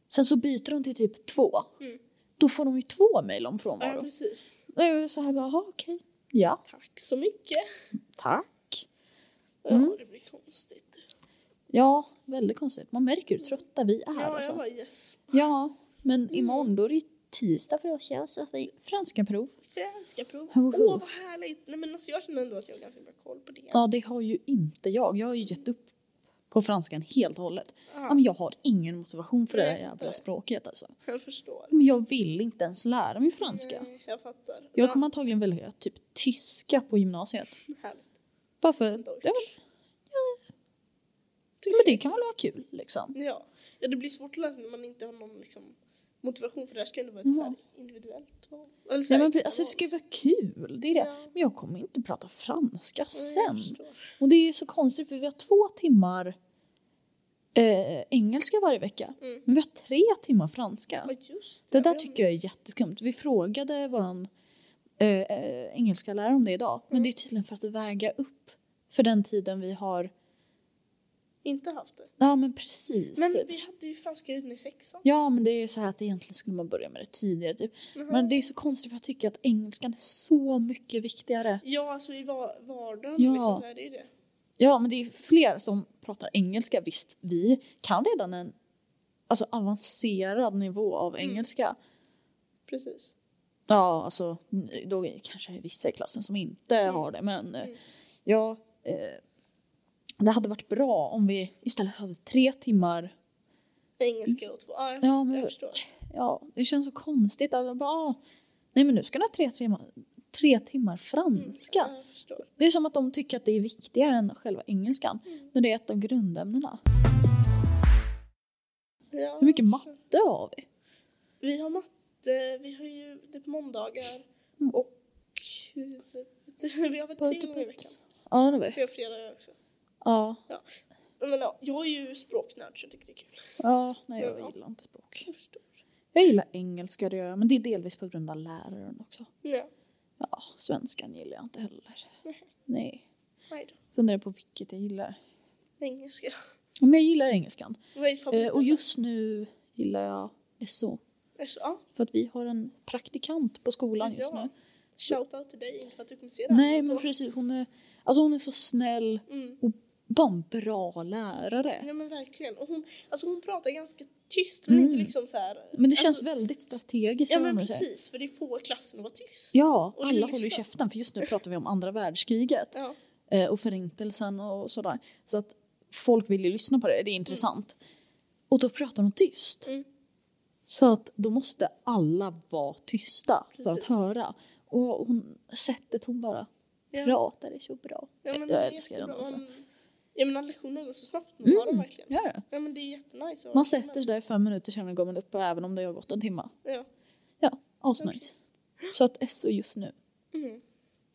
Speaker 2: sen så byter de till typ två.
Speaker 1: Mm.
Speaker 2: Då får de ju två mejl om
Speaker 1: Ja,
Speaker 2: frånvaro.
Speaker 1: precis.
Speaker 2: Det är Så här bara, aha, okej. Ja,
Speaker 1: Tack så mycket.
Speaker 2: tack.
Speaker 1: Ja,
Speaker 2: Mm.
Speaker 1: det blir konstigt.
Speaker 2: Ja, väldigt konstigt. Man märker hur trötta vi är.
Speaker 1: Ja,
Speaker 2: alltså.
Speaker 1: jag bara yes.
Speaker 2: ja men imorgon då är det tisdag för oss. Ja, så att vi... Franska prov.
Speaker 1: Franska prov. Åh,
Speaker 2: Ho, ho.
Speaker 1: vad härligt. Nej, men alltså, jag känner ändå att jag har ganska bra koll på det.
Speaker 2: Ja, det har ju inte jag. Jag har ju gett upp på franskan helt och hållet. Ja,
Speaker 1: Ja,
Speaker 2: men jag har ingen motivation för det där
Speaker 1: Nej, jag fattar.
Speaker 2: jävla språket alltså.
Speaker 1: jag förstår.
Speaker 2: Men jag vill inte ens lära mig franska.
Speaker 1: Nej, jag fattar.
Speaker 2: Jag kommer antagligen välja typ tyska på gymnasiet.
Speaker 1: ja, härligt.
Speaker 2: Bara för ja,
Speaker 1: Deutsch.
Speaker 2: men det kan väl vara kul liksom.
Speaker 1: Ja. ja, det blir svårt att lära sig när man inte har någon liksom, motivation för det här ska ju ändå vara ett så här, individuellt val. Eller så
Speaker 2: Nej,
Speaker 1: här,
Speaker 2: men,
Speaker 1: extra
Speaker 2: alltså det
Speaker 1: val.
Speaker 2: ska ju vara kul, det är det.
Speaker 1: Ja.
Speaker 2: Men jag kommer inte prata franska
Speaker 1: Ja, jag
Speaker 2: sen.
Speaker 1: förstår.
Speaker 2: Och det är ju så konstigt för vi har två timmar eh, engelska varje vecka.
Speaker 1: Mm.
Speaker 2: Men vi har tre timmar franska.
Speaker 1: Ja, just
Speaker 2: Det där tycker jag är jätteskumt. Vi frågade våran eh, eh, engelska lärare om det idag. Men
Speaker 1: Mm.
Speaker 2: det är tydligen för att väga upp för den tiden vi har...
Speaker 1: Inte haft det.
Speaker 2: Ja men precis.
Speaker 1: Men
Speaker 2: typ.
Speaker 1: vi hade ju franska redan i sexan.
Speaker 2: Ja men det är ju så här att egentligen skulle man börja med det tidigare typ.
Speaker 1: Mhm.
Speaker 2: Men det är så konstigt för jag tycker att engelskan är så mycket viktigare.
Speaker 1: Ja, alltså i var- vardagen
Speaker 2: Ja.
Speaker 1: liksom, så här, det är ju det.
Speaker 2: Ja men det är ju fler som pratar engelska. Visst, vi kan redan en alltså, avancerad nivå av
Speaker 1: Mm.
Speaker 2: engelska.
Speaker 1: Precis.
Speaker 2: Ja, alltså då är det kanske det vissa i klassen som inte har det men eh,
Speaker 1: Mm.
Speaker 2: ja. Eh, det hade varit bra om vi istället hade tre timmar.
Speaker 1: Engelska och två. Ja, jag,
Speaker 2: Ja, men-
Speaker 1: jag förstår.
Speaker 2: Ja, det känns så konstigt. Alltså, bara, ah, nej men nu ska ni ha tre timmar, tre timmar franska.
Speaker 1: Ja, jag förstår.
Speaker 2: Det är som att de tycker att det är viktigare än själva engelskan
Speaker 1: Mm.
Speaker 2: när det är ett av grundämnena.
Speaker 1: Ja,
Speaker 2: Hur mycket
Speaker 1: jag förstår.
Speaker 2: matte har vi?
Speaker 1: Vi har matte, vi har ju det på måndagar
Speaker 2: Mm.
Speaker 1: och vi har väl
Speaker 2: Putt,
Speaker 1: tre gånger i
Speaker 2: putt.
Speaker 1: veckan.
Speaker 2: Ja, det har vi.
Speaker 1: Vi har fredagar också.
Speaker 2: Ja,
Speaker 1: Men ja, jag är ju språknörd så jag tycker det är kul.
Speaker 2: ja nej jag
Speaker 1: Ja.
Speaker 2: gillar inte språk.
Speaker 1: Jag förstår.
Speaker 2: Jag gillar engelska, det gör jag, men det är delvis på grund av läraren också.
Speaker 1: Ja,
Speaker 2: Ja, svenskan gillar jag inte heller.
Speaker 1: Nej.
Speaker 2: Nej.
Speaker 1: nej då.
Speaker 2: Funderar på vilket jag gillar.
Speaker 1: Engelska.
Speaker 2: Ja, Men jag gillar engelskan.
Speaker 1: Vad är ditt
Speaker 2: Eh,
Speaker 1: favorit? Alltså,
Speaker 2: och just nu gillar jag SO.
Speaker 1: Ja,
Speaker 2: För att vi har en praktikant på skolan just
Speaker 1: Ja.
Speaker 2: nu.
Speaker 1: shoutout till dig, inte för att du kommer se det här,
Speaker 2: Nej men
Speaker 1: då-
Speaker 2: precis, hon är, alltså hon är så snäll.
Speaker 1: Mm.
Speaker 2: Bara en bra lärare.
Speaker 1: Ja men verkligen. Och hon, alltså hon pratar ganska tyst men
Speaker 2: Mm.
Speaker 1: inte liksom så här.
Speaker 2: Men det känns
Speaker 1: alltså,
Speaker 2: väldigt strategiskt.
Speaker 1: Ja
Speaker 2: eller
Speaker 1: men
Speaker 2: vad man säger.
Speaker 1: precis, för det är få i klassen att vara tyst.
Speaker 2: Ja,
Speaker 1: Och
Speaker 2: alla
Speaker 1: lyssna.
Speaker 2: håller ju käften för just nu pratar vi om andra världskriget
Speaker 1: Ja.
Speaker 2: eh, och förintelsen och sådär. Så att folk vill ju lyssna på det, det är intressant. Och då pratar de tyst.
Speaker 1: Mm.
Speaker 2: Så att då måste alla vara tysta för att
Speaker 1: Precis.
Speaker 2: höra. Och hon, sättet hon bara
Speaker 1: Ja.
Speaker 2: pratade så bra.
Speaker 1: Ja, men
Speaker 2: jag
Speaker 1: det är
Speaker 2: älskar
Speaker 1: jättebra.
Speaker 2: den alltså.
Speaker 1: Man- Ja men lektionerna går så snabbt nu,
Speaker 2: Mm.
Speaker 1: har de verkligen.
Speaker 2: Gör det?
Speaker 1: Ja men det är jättenice. att ha
Speaker 2: Man
Speaker 1: det.
Speaker 2: sätter sig där i fem minuter senare går man upp även om det har gått en timme.
Speaker 1: Ja.
Speaker 2: Ja, asnice. Så att SO just nu
Speaker 1: Mm.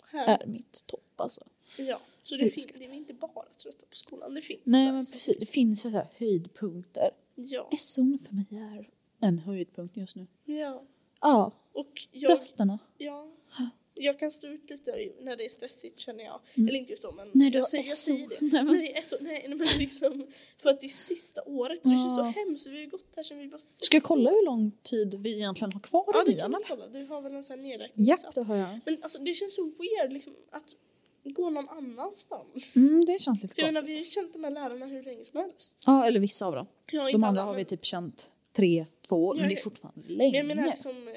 Speaker 1: Här.
Speaker 2: är mitt topp alltså.
Speaker 1: Ja. Så det, fin-
Speaker 2: Älskar.
Speaker 1: det är inte bara trötta på skolan, det finns
Speaker 2: Nej
Speaker 1: där,
Speaker 2: men
Speaker 1: så-
Speaker 2: precis, det finns ju så här höjdpunkter.
Speaker 1: Ja.
Speaker 2: SO för mig är en höjdpunkt just nu.
Speaker 1: ja.
Speaker 2: Ja,
Speaker 1: Och jag,
Speaker 2: rasterna.
Speaker 1: ja. Jag kan stå ut lite när det är stressigt känner jag.
Speaker 2: Mm.
Speaker 1: Eller inte just då men
Speaker 2: Nej, du
Speaker 1: jag,
Speaker 2: har
Speaker 1: säger, jag
Speaker 2: SO.
Speaker 1: säger det.
Speaker 2: Nej, men-
Speaker 1: Nej, SO, nej men liksom för att det är sista året och det känns så
Speaker 2: Ja.
Speaker 1: hemskt. Vi har ju gått här sedan vi var sex.
Speaker 2: Ska jag kolla hur lång tid vi egentligen har kvar
Speaker 1: Ja
Speaker 2: i
Speaker 1: det kan
Speaker 2: nian?
Speaker 1: du
Speaker 2: eller?
Speaker 1: kolla, du har väl en sån här nedräkningsapp?
Speaker 2: Japp, det har jag.
Speaker 1: Men alltså det känns så weird liksom att gå någon annanstans.
Speaker 2: Mm, det känns lite
Speaker 1: För jag menar,
Speaker 2: konstigt.
Speaker 1: vi har ju känt de här lärarna hur länge som helst.
Speaker 2: Ja, eller vissa av dem.
Speaker 1: Jag
Speaker 2: De andra har vi typ känt tre, två år,
Speaker 1: Ja,
Speaker 2: men det är
Speaker 1: det-
Speaker 2: fortfarande
Speaker 1: Men
Speaker 2: länge.
Speaker 1: jag menar liksom eh,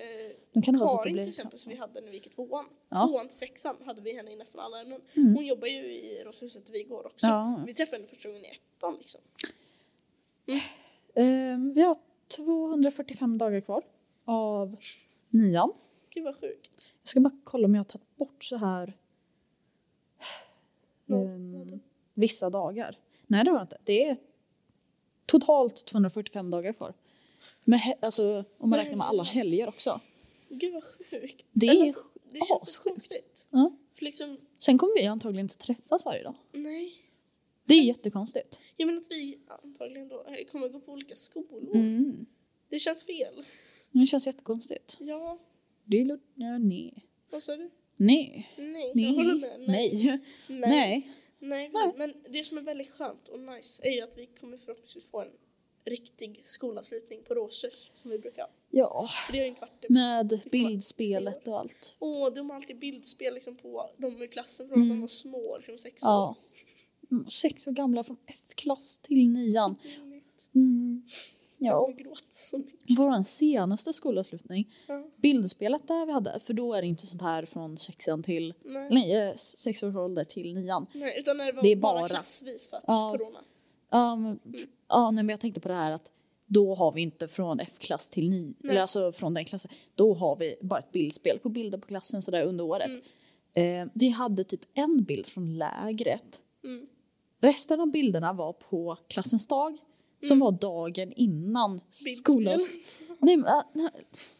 Speaker 2: Nu kan det vara så att det
Speaker 1: Karin
Speaker 2: blir...
Speaker 1: till exempel som vi hade när vi gick i tvåan.
Speaker 2: Ja.
Speaker 1: Tvåan till sexan hade vi henne i nästan alla ämnen.
Speaker 2: Mm.
Speaker 1: Hon jobbar ju i Roslagshuset där vi går också.
Speaker 2: Ja.
Speaker 1: Vi träffade henne första gången i ettan liksom.
Speaker 2: Ehm, vi har 245 dagar kvar av nian.
Speaker 1: Gud vad sjukt.
Speaker 2: Jag ska bara kolla om jag har tagit bort så här
Speaker 1: Nå-
Speaker 2: ehm,
Speaker 1: något.
Speaker 2: vissa dagar. Nej, det har jag inte. Det är totalt 245 dagar kvar. Men he- alltså, om man
Speaker 1: Nej,
Speaker 2: räknar med
Speaker 1: det är
Speaker 2: alla
Speaker 1: sant.
Speaker 2: helger också.
Speaker 1: Gud vad sjukt.
Speaker 2: Det
Speaker 1: Eller
Speaker 2: är
Speaker 1: alltså, det känns så
Speaker 2: assjukt.
Speaker 1: konstigt.
Speaker 2: Ja.
Speaker 1: För liksom,
Speaker 2: Sen kommer vi antagligen inte träffas varje dag.
Speaker 1: nej.
Speaker 2: Det är jättekonstigt.
Speaker 1: Jag menar att vi antagligen då eh, kommer gå på olika skolor.
Speaker 2: Mm.
Speaker 1: Det känns fel.
Speaker 2: Det känns jättekonstigt.
Speaker 1: Ja,
Speaker 2: Det är lugnt. Ja, nej.
Speaker 1: vad sa du?
Speaker 2: Nej.
Speaker 1: Nej, jag håller
Speaker 2: Nej.
Speaker 1: med.
Speaker 2: Nej. Nej.
Speaker 1: Nej,
Speaker 2: Nej.
Speaker 1: men det som är väldigt skönt och nice är ju att vi kommer förhoppningsvis få en riktig skolavslutning på Råsers som vi brukar ha.
Speaker 2: Ja.
Speaker 1: För det har ju inte varit det.
Speaker 2: Med bildspelet och allt.
Speaker 1: Åh, de har alltid bildspel liksom på de ur klassen från när de var små, liksom sex år.
Speaker 2: Mm. Ja. Mm, Sex år gamla från F-klass till nian.
Speaker 1: Gulligt.
Speaker 2: Mm.
Speaker 1: Jag
Speaker 2: Ja.
Speaker 1: kommer gråta så mycket.
Speaker 2: Vår senaste skolavslutning,
Speaker 1: Ja.
Speaker 2: bildspelet där vi hade, för då är det inte sånt här från sexan till,
Speaker 1: Nej.
Speaker 2: nej, eh, sex års ålder till nian.
Speaker 1: Nej, utan när det var
Speaker 2: Det är
Speaker 1: bara,
Speaker 2: bara-
Speaker 1: klassvis för att
Speaker 2: Ja.
Speaker 1: corona.
Speaker 2: Um, ja, nej, men jag tänkte på det här att då har vi inte från F-klass till ni,
Speaker 1: Nej.
Speaker 2: eller alltså från den klassen, då har vi bara ett bildspel på bilder på klassen sådär under året. Eh, vi hade typ en bild från lägret.
Speaker 1: Mm.
Speaker 2: Resten av bilderna var på klassens dag som
Speaker 1: Mm.
Speaker 2: var dagen innan
Speaker 1: Bildspelet.
Speaker 2: skolavslutningen. Nej, men, äh, nej,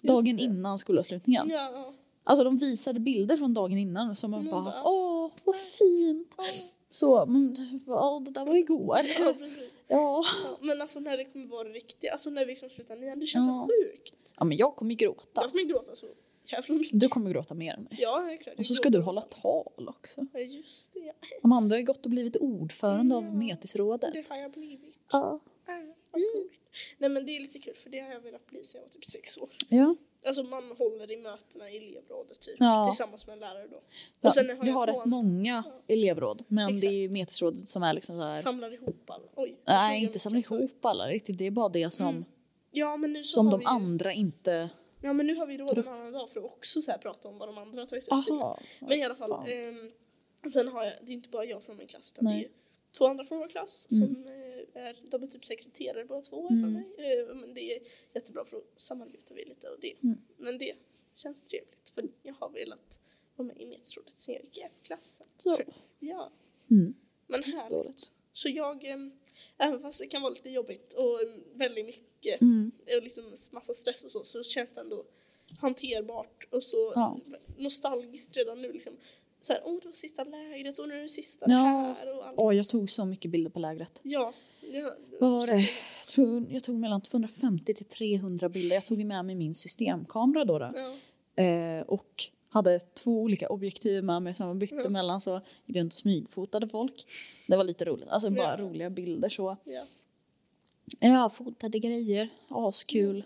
Speaker 2: dagen
Speaker 1: det.
Speaker 2: innan skolavslutningen.
Speaker 1: Ja.
Speaker 2: Alltså de visade bilder från dagen innan som man
Speaker 1: Mm,
Speaker 2: bara
Speaker 1: bara,
Speaker 2: åh vad fint.
Speaker 1: Ja.
Speaker 2: Så, men, ja, det där var igår.
Speaker 1: ja, precis.
Speaker 2: Ja.
Speaker 1: Ja, men alltså när det kommer vara riktigt, alltså när vi liksom slutar nian, det känns
Speaker 2: Ja.
Speaker 1: så sjukt.
Speaker 2: ja men jag kommer gråta.
Speaker 1: Jag kommer gråta så jävla mycket.
Speaker 2: Du kommer gråta mer än mig.
Speaker 1: Ja, det är klart.
Speaker 2: Och så
Speaker 1: Jag
Speaker 2: ska du
Speaker 1: gråter
Speaker 2: hålla
Speaker 1: åt allt.
Speaker 2: tal också.
Speaker 1: Ja, just det. Ja.
Speaker 2: Amanda har ju gått och blivit ordförande av
Speaker 1: Ja.
Speaker 2: Metisrådet.
Speaker 1: Det har jag blivit.
Speaker 2: Ja.
Speaker 1: Ah, vad coolt. Nej men det är lite kul för det har jag velat bli sedan jag var typ sex år.
Speaker 2: Ja.
Speaker 1: Alltså man håller i mötena i elevrådet typ.
Speaker 2: Ja.
Speaker 1: Tillsammans med en lärare då. Och
Speaker 2: Ja,
Speaker 1: sen har
Speaker 2: vi
Speaker 1: jag
Speaker 2: har rätt
Speaker 1: tvåan-
Speaker 2: många elevråd men det är ju Metisrådet som är liksom så här.
Speaker 1: Samlar ihop alla. Oj. jag
Speaker 2: Nej,
Speaker 1: slog
Speaker 2: inte
Speaker 1: en
Speaker 2: samla
Speaker 1: mikrofon.
Speaker 2: ihop alla riktigt. Det är bara det som,
Speaker 1: Mm. Ja men nu så
Speaker 2: som
Speaker 1: har
Speaker 2: de
Speaker 1: vi ju,
Speaker 2: andra inte...
Speaker 1: Ja men nu har vi råd en annan dag för att också så här prata om vad de andra har tagit upp. Men i alla fall. ehm, sen har jag, det är inte bara jag från min klass utan
Speaker 2: Nej.
Speaker 1: det är ju två andra från vår klass
Speaker 2: Mm.
Speaker 1: som eh, är, de är typ sekreterare båda två
Speaker 2: Mm.
Speaker 1: för mig. Eh, men det är jättebra för då samarbetar vi lite och det.
Speaker 2: Mm.
Speaker 1: Men det känns trevligt för jag har velat vara med i medsrådet sen jag gick i F-klassen.
Speaker 2: Ja.
Speaker 1: Ja,
Speaker 2: Mm.
Speaker 1: men här.
Speaker 2: Dåligt.
Speaker 1: Så jag, ehm, även fast det kan vara lite jobbigt och ehm, väldigt mycket
Speaker 2: Mm.
Speaker 1: och liksom massa stress och så, så känns det ändå hanterbart och så
Speaker 2: Ja.
Speaker 1: nostalgiskt redan nu. Liksom. Så här, åh det var sista lägret och nu är det sista
Speaker 2: Ja.
Speaker 1: här och allt.
Speaker 2: Åh, jag tog så mycket bilder på lägret.
Speaker 1: Ja. ja.
Speaker 2: Vad var det? Jag, tror, jag tog mellan 250 till 300 bilder. Jag tog ju med mig min systemkamera då. då.
Speaker 1: Ja.
Speaker 2: Eh, och hade två olika objektiv med mig som jag bytte
Speaker 1: Ja.
Speaker 2: mellan så gick runt och smygfotade folk. Det var lite roligt. Alltså bara
Speaker 1: Ja.
Speaker 2: roliga bilder så.
Speaker 1: Ja.
Speaker 2: Ja, fotade grejer. Askul.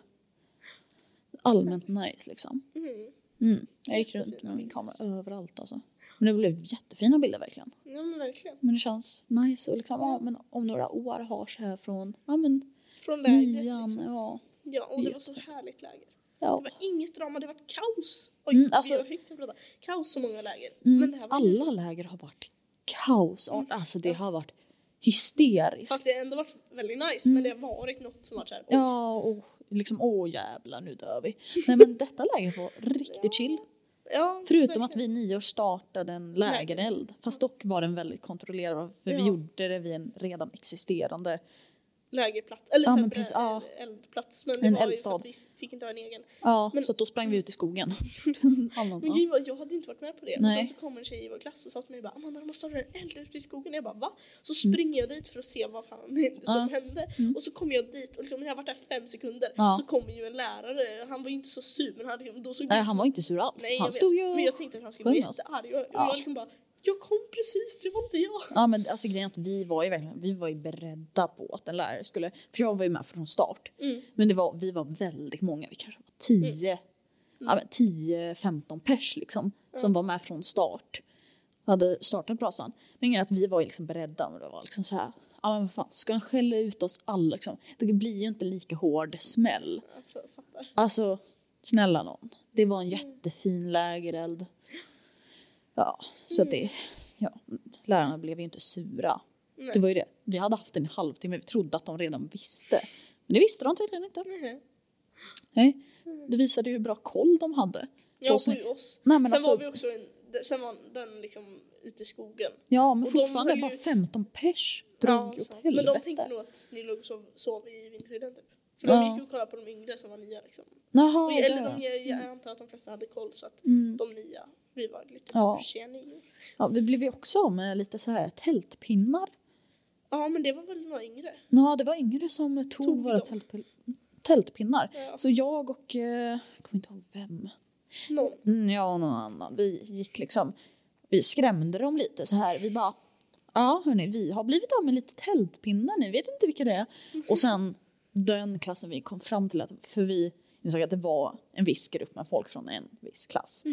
Speaker 2: Allmänt nice liksom.
Speaker 1: Mm.
Speaker 2: Mm. Jag gick runt med min kamera överallt alltså. Men det blev jättefina bilder verkligen.
Speaker 1: ja men verkligen.
Speaker 2: Men det känns nice och liksom, ja men om några år har så här från, ja men
Speaker 1: Från lägret.
Speaker 2: nian,
Speaker 1: Liksom.
Speaker 2: ja.
Speaker 1: Ja, och det var så
Speaker 2: Jättefint.
Speaker 1: härligt läger.
Speaker 2: ja.
Speaker 1: Det var inget drama, det var kaos. Oj,
Speaker 2: Mm,
Speaker 1: mm,
Speaker 2: alltså-
Speaker 1: alltså, högt att prata. Kaos så många läger. Men det
Speaker 2: Mm.
Speaker 1: här var ju-
Speaker 2: Alla läger har varit kaos, alltså det har varit hysteriskt.
Speaker 1: Fast det har ändå varit väldigt nice men
Speaker 2: Mm.
Speaker 1: det har varit något som varit såhär oj.
Speaker 2: Ja, och liksom åh jävlar nu dör vi. Nej men detta läger var riktigt chill.
Speaker 1: Ja,
Speaker 2: Förutom att
Speaker 1: verkligen.
Speaker 2: vi nio startade en lägereld. Fast dock var den väldigt kontrollerad för vi
Speaker 1: Ja.
Speaker 2: gjorde det vid en redan existerande.
Speaker 1: Lägerplats, eller
Speaker 2: Ja,
Speaker 1: så här
Speaker 2: men precis, ja.
Speaker 1: eldplats. Men det
Speaker 2: En
Speaker 1: var
Speaker 2: eldstad.
Speaker 1: ju för att vi fick inte ha en egen.
Speaker 2: Ja,
Speaker 1: Men-
Speaker 2: så att då sprang vi ut i skogen. En annan,
Speaker 1: Men
Speaker 2: ja.
Speaker 1: gud, vad- jag hade inte varit med på det.
Speaker 2: Nej.
Speaker 1: Och sen så kom en tjej i vår klass och sa till mig bara Amanda de måste ha en eld ute i skogen. Jag bara va? Så
Speaker 2: Mm.
Speaker 1: springer jag dit för att se vad fan som hände. Och så kom jag dit och liksom, när jag har varit där fem sekunder
Speaker 2: Ja.
Speaker 1: så kom ju en lärare. Han var ju inte så sur men hade, då såg
Speaker 2: Nej,
Speaker 1: ut
Speaker 2: han var inte sur alls.
Speaker 1: Nej, jag
Speaker 2: han
Speaker 1: vet.
Speaker 2: stod ju
Speaker 1: Men jag tänkte att han skulle bli
Speaker 2: sjöng oss.
Speaker 1: jättearg. Och, och
Speaker 2: Ja.
Speaker 1: jag liksom bara, jag kom precis, det var inte jag.
Speaker 2: Ja men alltså grejen är att vi var ju verkligen, vi var ju beredda på att en lärare skulle, för jag var ju med från start.
Speaker 1: Mm.
Speaker 2: Men det var, vi var väldigt många, vi kanske var 10, ja men 10, 15 pers liksom som var med från start. Hade startat brasan. Men grejen är att vi var ju liksom beredda men det var liksom så här, ja men vad fan, ska han skälla ut oss alla liksom? Det blir ju inte lika hård smäll.
Speaker 1: Jag tror jag fattar.
Speaker 2: Alltså snälla någon, det var en jättefin lägereld. Ja, så att det, ja, lärarna blev ju inte sura.
Speaker 1: Nej.
Speaker 2: Det var ju det. Vi hade haft en halvtimme, vi trodde att de redan visste. Men det visste de tydligen inte.
Speaker 1: Mhm.
Speaker 2: Nej.
Speaker 1: Mm.
Speaker 2: Det visade ju hur bra koll de hade.
Speaker 1: Jag
Speaker 2: Och sen-
Speaker 1: och ju oss.
Speaker 2: Nej, men
Speaker 1: sen
Speaker 2: alltså-
Speaker 1: var vi också en, de- sen var den liksom ute i skogen.
Speaker 2: Ja, men
Speaker 1: Och de
Speaker 2: fortfarande
Speaker 1: höll ju-
Speaker 2: bara 15 pers drog
Speaker 1: Ja,
Speaker 2: åt
Speaker 1: sant.
Speaker 2: helvete.
Speaker 1: men de tänkte nog att ni låg och sov, sov i vindskydden typ. För
Speaker 2: Ja.
Speaker 1: de gick ju och kollade på de yngre som var nya liksom.
Speaker 2: Jaha,
Speaker 1: Och,
Speaker 2: ja.
Speaker 1: eller de, jag, jag antar att de flesta hade koll så att
Speaker 2: Mm.
Speaker 1: de nya, vi var lite
Speaker 2: Ja.
Speaker 1: ja. tjenior.
Speaker 2: ja. Vi blev ju också av med lite så här tältpinnar.
Speaker 1: Ja men det var väl några yngre.
Speaker 2: Ja, det var yngre som tog,
Speaker 1: Tog
Speaker 2: våra
Speaker 1: dem.
Speaker 2: tältpil- tältpinnar.
Speaker 1: Ja. alltså,
Speaker 2: Så jag och, eh, jag kommer inte ihåg vem,
Speaker 1: Någon.
Speaker 2: Mm, jag och någon annan, vi gick liksom, vi skrämde dem lite så här. Vi bara, ja hörni, vi har blivit av med lite tältpinnar, ni vet inte vilka det är. Och sen den klassen vi kom fram till, att, för vi insåg att det var en viss grupp med folk från en viss klass.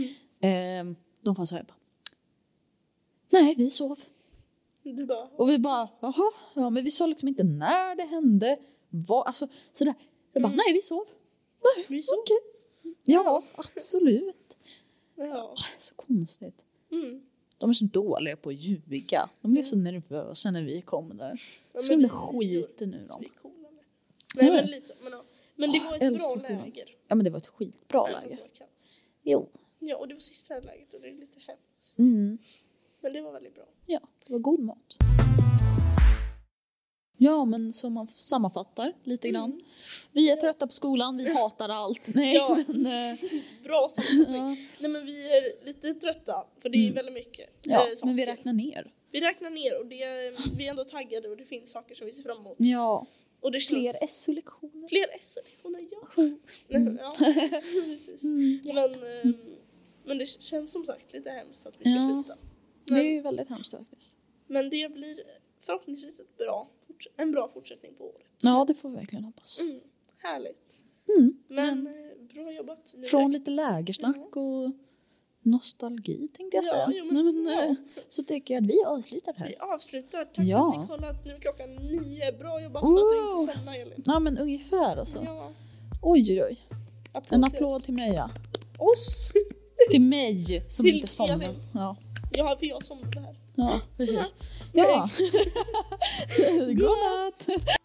Speaker 2: Eh, de var så här, bara, nej vi sov.
Speaker 1: Du bara,
Speaker 2: Och vi bara, jaha, ja, men vi sa liksom inte när det hände, vad, alltså sådär. Jag bara, nej vi sov.
Speaker 1: vi
Speaker 2: Okej.
Speaker 1: sov.
Speaker 2: Ja, absolut.
Speaker 1: Ja.
Speaker 2: Så konstigt.
Speaker 1: Mm.
Speaker 2: De är så dåliga på att ljuga. De blev så nervösa när vi kom där.
Speaker 1: Ja,
Speaker 2: Så
Speaker 1: men
Speaker 2: himla
Speaker 1: vi-
Speaker 2: skiten nu
Speaker 1: Så
Speaker 2: dem.
Speaker 1: vi är coola med. Nej
Speaker 2: Ja.
Speaker 1: men lite så, men, ja. men det
Speaker 2: Åh,
Speaker 1: var ett
Speaker 2: älskar
Speaker 1: bra
Speaker 2: skolan.
Speaker 1: läger.
Speaker 2: Ja men det var ett skitbra
Speaker 1: Även fast
Speaker 2: läge.
Speaker 1: det var kallt.
Speaker 2: Jo.
Speaker 1: Ja och det var sista läget och det är lite hemskt.
Speaker 2: Mm.
Speaker 1: Men det var väldigt bra.
Speaker 2: Ja, det var god mat. Ja men som man sammanfattar lite grann. Vi är trötta på skolan, vi hatar allt. Nej
Speaker 1: Mm. Ja.
Speaker 2: men... eh,
Speaker 1: Bra sammanfattning.
Speaker 2: ja.
Speaker 1: Nej men vi är lite trötta för det är
Speaker 2: Mm.
Speaker 1: väldigt mycket.
Speaker 2: Ja,
Speaker 1: eh, saker.
Speaker 2: men vi räknar ner.
Speaker 1: vi räknar ner och det, vi är ändå taggade och det finns saker som vi ser fram emot.
Speaker 2: Ja,
Speaker 1: Och det känns,
Speaker 2: fler SO-lektioner.
Speaker 1: fler SO-lektioner, ja.
Speaker 2: Mm.
Speaker 1: Nej, men, ja. Precis.
Speaker 2: Mm.
Speaker 1: Men, ehm, men det känns som sagt lite hemskt att vi ska
Speaker 2: Ja.
Speaker 1: sluta.
Speaker 2: Det
Speaker 1: Men,
Speaker 2: är ju väldigt hemskt faktiskt.
Speaker 1: men det blir förhoppningsvis ett bra, forts- en bra fortsättning på året.
Speaker 2: Ja, det får vi verkligen hoppas.
Speaker 1: Mm, härligt.
Speaker 2: Mm.
Speaker 1: Men, eh, bra jobbat. Nu
Speaker 2: Från
Speaker 1: räcker-
Speaker 2: lite lägersnack och nostalgi tänkte jag
Speaker 1: Mm. Ja,
Speaker 2: säga.
Speaker 1: jo,
Speaker 2: Nej,
Speaker 1: men-
Speaker 2: men,
Speaker 1: ja.
Speaker 2: eh, Så tycker jag att vi avslutar här.
Speaker 1: Vi avslutar. Tack
Speaker 2: Ja.
Speaker 1: för att ni kollat. Nu är klockan nio. Bra jobbat för att du
Speaker 2: Wow.
Speaker 1: inte somnade Elin.
Speaker 2: Ja men ungefär alltså.
Speaker 1: Ja,
Speaker 2: Oj oj oj.
Speaker 1: applåd
Speaker 2: En
Speaker 1: till
Speaker 2: applåd till mig ja.
Speaker 1: Oss!
Speaker 2: Till mig som
Speaker 1: Till
Speaker 2: inte somnar.
Speaker 1: Elin.
Speaker 2: Ja,
Speaker 1: Ja, för jag somnade här.
Speaker 2: ja precis. Ja. Godnatt!